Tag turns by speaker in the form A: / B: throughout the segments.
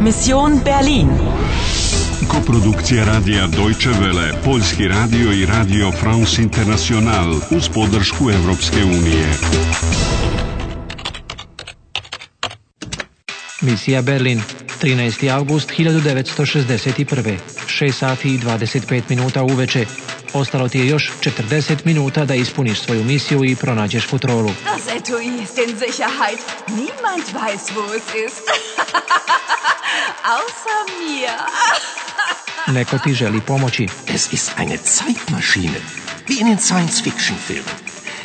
A: Mission Berlin.
B: Koprodukcija radija Deutsche Welle, Poljski radio i radio France International uz podršku Europske unije.
C: Misija Berlin, 13. august 1961. 6 sati i 25 minuta uveče. Ostalo ti je još 40 minuta da ispuniš svoju misiju i pronađeš futrolu.
D: Das Etui ist in Sicherheit. Niemand weiß, wo es ist. Außer mir.
C: Neko ti želi pomoći.
E: Es ist eine Zeitmaschine, wie in den Science-Fiction-Filmen.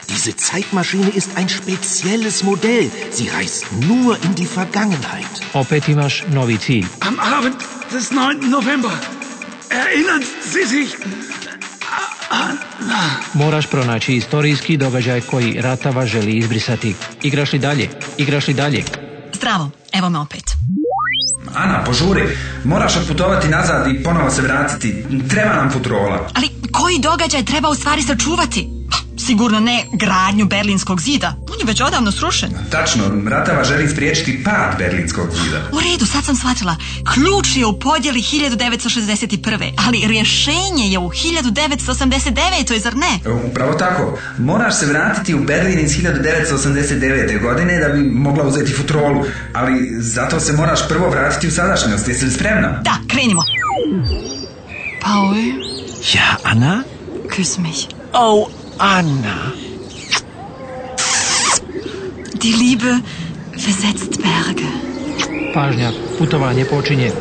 E: Diese Zeitmaschine ist ein spezielles Modell. Sie reist nur in die Vergangenheit.
C: Opet imaš novi cilj.
F: Am Abend des 9. November erinnern Sie sich an.
C: Moraš pronaći istorijski događaj koji Ratava želi izbrisati. Igraš li dalje? Igraš li dalje?
G: Zdravo, evo me opet.
H: Ana, požuri, moraš otputovati nazad i ponovo se vratiti. Treba nam futrola.
G: Ali koji događaj treba u stvari sačuvati? Pa, sigurno ne gradnju Berlinskog zida. On je već odavno srušen.
H: Tačno, Ratava želi spriječiti pad Berlinskog zida.
G: U redu, sad sam shvatila. Ključ je u podjeli 1961. Ali rješenje je u 1989. zar ne?
H: E, Upravo tako. Moraš se vratiti u Berlin iz 1989. godine da bi mogla uzeti futrolu. Ali zato se moraš prvo vratiti u sadašnjost. Jesi li spremna?
G: Da, krenimo.
D: Paul,
E: Ja, Anna?
D: küss mich.
E: Oh, Anna.
D: Die Liebe versetzt Berge.
C: Pažnja, putovanje počinje.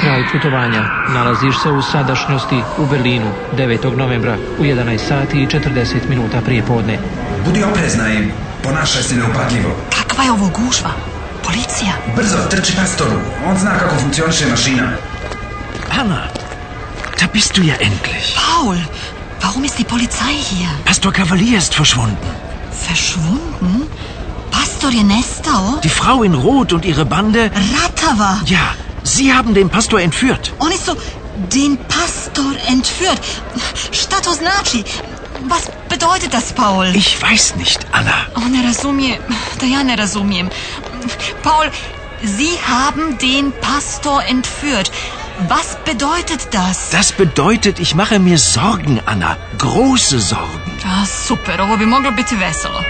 C: Kraj putovanja. Nalaziš se u sadašnjosti u Berlinu 9. novembra u 11 sati i 40 minuta prije podne.
H: Budi oprezna i ponašaj se neupadljivo.
G: Kakva je ovo gužva? Policija?
H: Brzo, trči pastoru. On zna kako funkcioniše mašina.
E: Anna, da bist du ja endlich.
G: Paul, warum ist die Polizei hier?
E: Pastor Cavalier ist verschwunden.
G: Verschwunden? Pastor je nestao?
E: Die Frau in Rot und ihre Bande.
G: Ratava!
E: Ja, sie haben den Pastor entführt.
G: Oni su den Pastor entführt. Šta to znači? Was bedeutet das, Paul?
E: Ich weiß nicht, Anna.
G: On Oh, ne razumije, da ja ne razumijem. Paul, Sie haben den Pastor entführt. Was bedeutet das?
E: Das bedeutet, ich mache mir Sorgen, Anna. Große Sorgen.
G: A, Ah, super, ovo bi moglo biti veselo.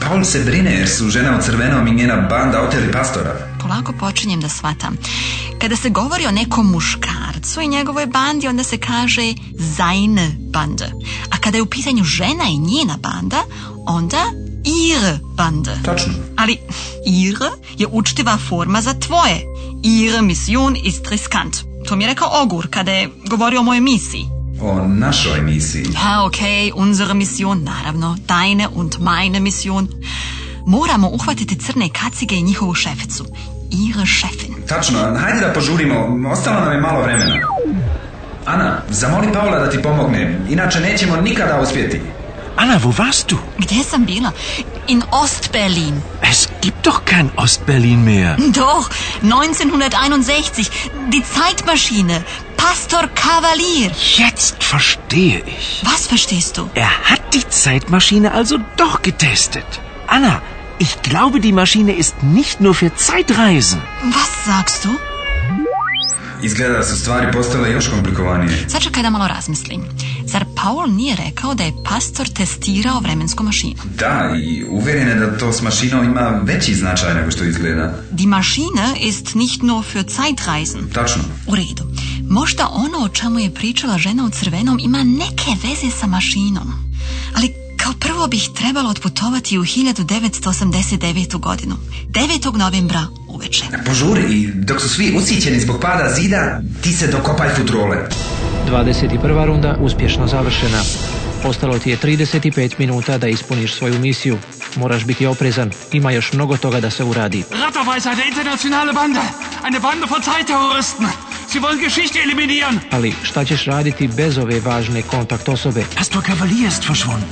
H: Paul se brine jer su žena u crvenom i njena banda oteli pastora.
G: Polako počinjem da shvatam. Kada se govori o nekom muškarcu i njegovoj bandi, onda se kaže seine Bande. A kada je u pitanju žena i njena banda, onda ihre Bande.
H: Tačno.
G: Ali ihre je učtiva forma za tvoje. Ihre Mission ist riskant. To mi je rekao Ogur kada je govorio o mojoj misiji.
H: O našoj misiji.
G: Pa okej, unsere Mission, naravno. Deine und meine Mission. Moramo uhvatiti crne kacige i njihovu šeficu. Ihre Chefin.
H: Tačno, hajde da požurimo, ostalo nam je malo vremena. Ana, zamoli Paula da ti pomogne, inače nećemo nikada uspjeti.
E: Anna, wo warst du?
G: Gdje sam bila? In Ostberlin.
E: Es gibt doch kein Ostberlin mehr.
G: Doch, 1961. Die Zeitmaschine. Pastor Kavalier.
E: Jetzt verstehe ich.
G: Was verstehst du?
E: Er hat die Zeitmaschine also doch getestet. Anna, ich glaube, die Maschine ist nicht nur für Zeitreisen.
G: Was sagst du?
H: Izgleda da su stvari postale još komplikovanije.
G: Sačekaj da malo razmislim. Zar Paul nije rekao da je pastor testirao vremensku mašinu?
H: Da, i uvjeren je da to s mašinom ima veći značaj nego što izgleda.
G: Die Maschine ist nicht nur für Zeitreisen.
H: Tačno.
G: U redu. Možda ono o čemu je pričala žena u crvenom ima neke veze sa mašinom. Ali kao prvo bih trebala otputovati u 1989. godinu. 9. novembra uveče.
H: Požuri i dok su svi usićeni zbog pada zida, ti se dokopaj futrole.
C: 21. runda uspješno završena. Ostalo ti je 35 minuta da ispuniš svoju misiju. Moraš biti oprezan, ima još mnogo toga da se uradi.
F: Ratava ist eine internationale Bande. Eine Bande von Zeitterroristen. Sie wollen Geschichte eliminieren.
C: Ali šta ćeš raditi bez ove važne kontakt osobe?
E: Pastor Cavalier ist verschwunden.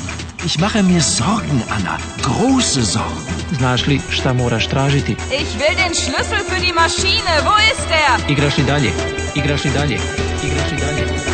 E: Ich mache mir Sorgen, Anna. Große Sorgen.
C: Znaš li šta moraš tražiti?
I: Ich will den Schlüssel für die Maschine. Wo ist er?
C: Igraš li dalje? Igraš li dalje? Igraš li dalje?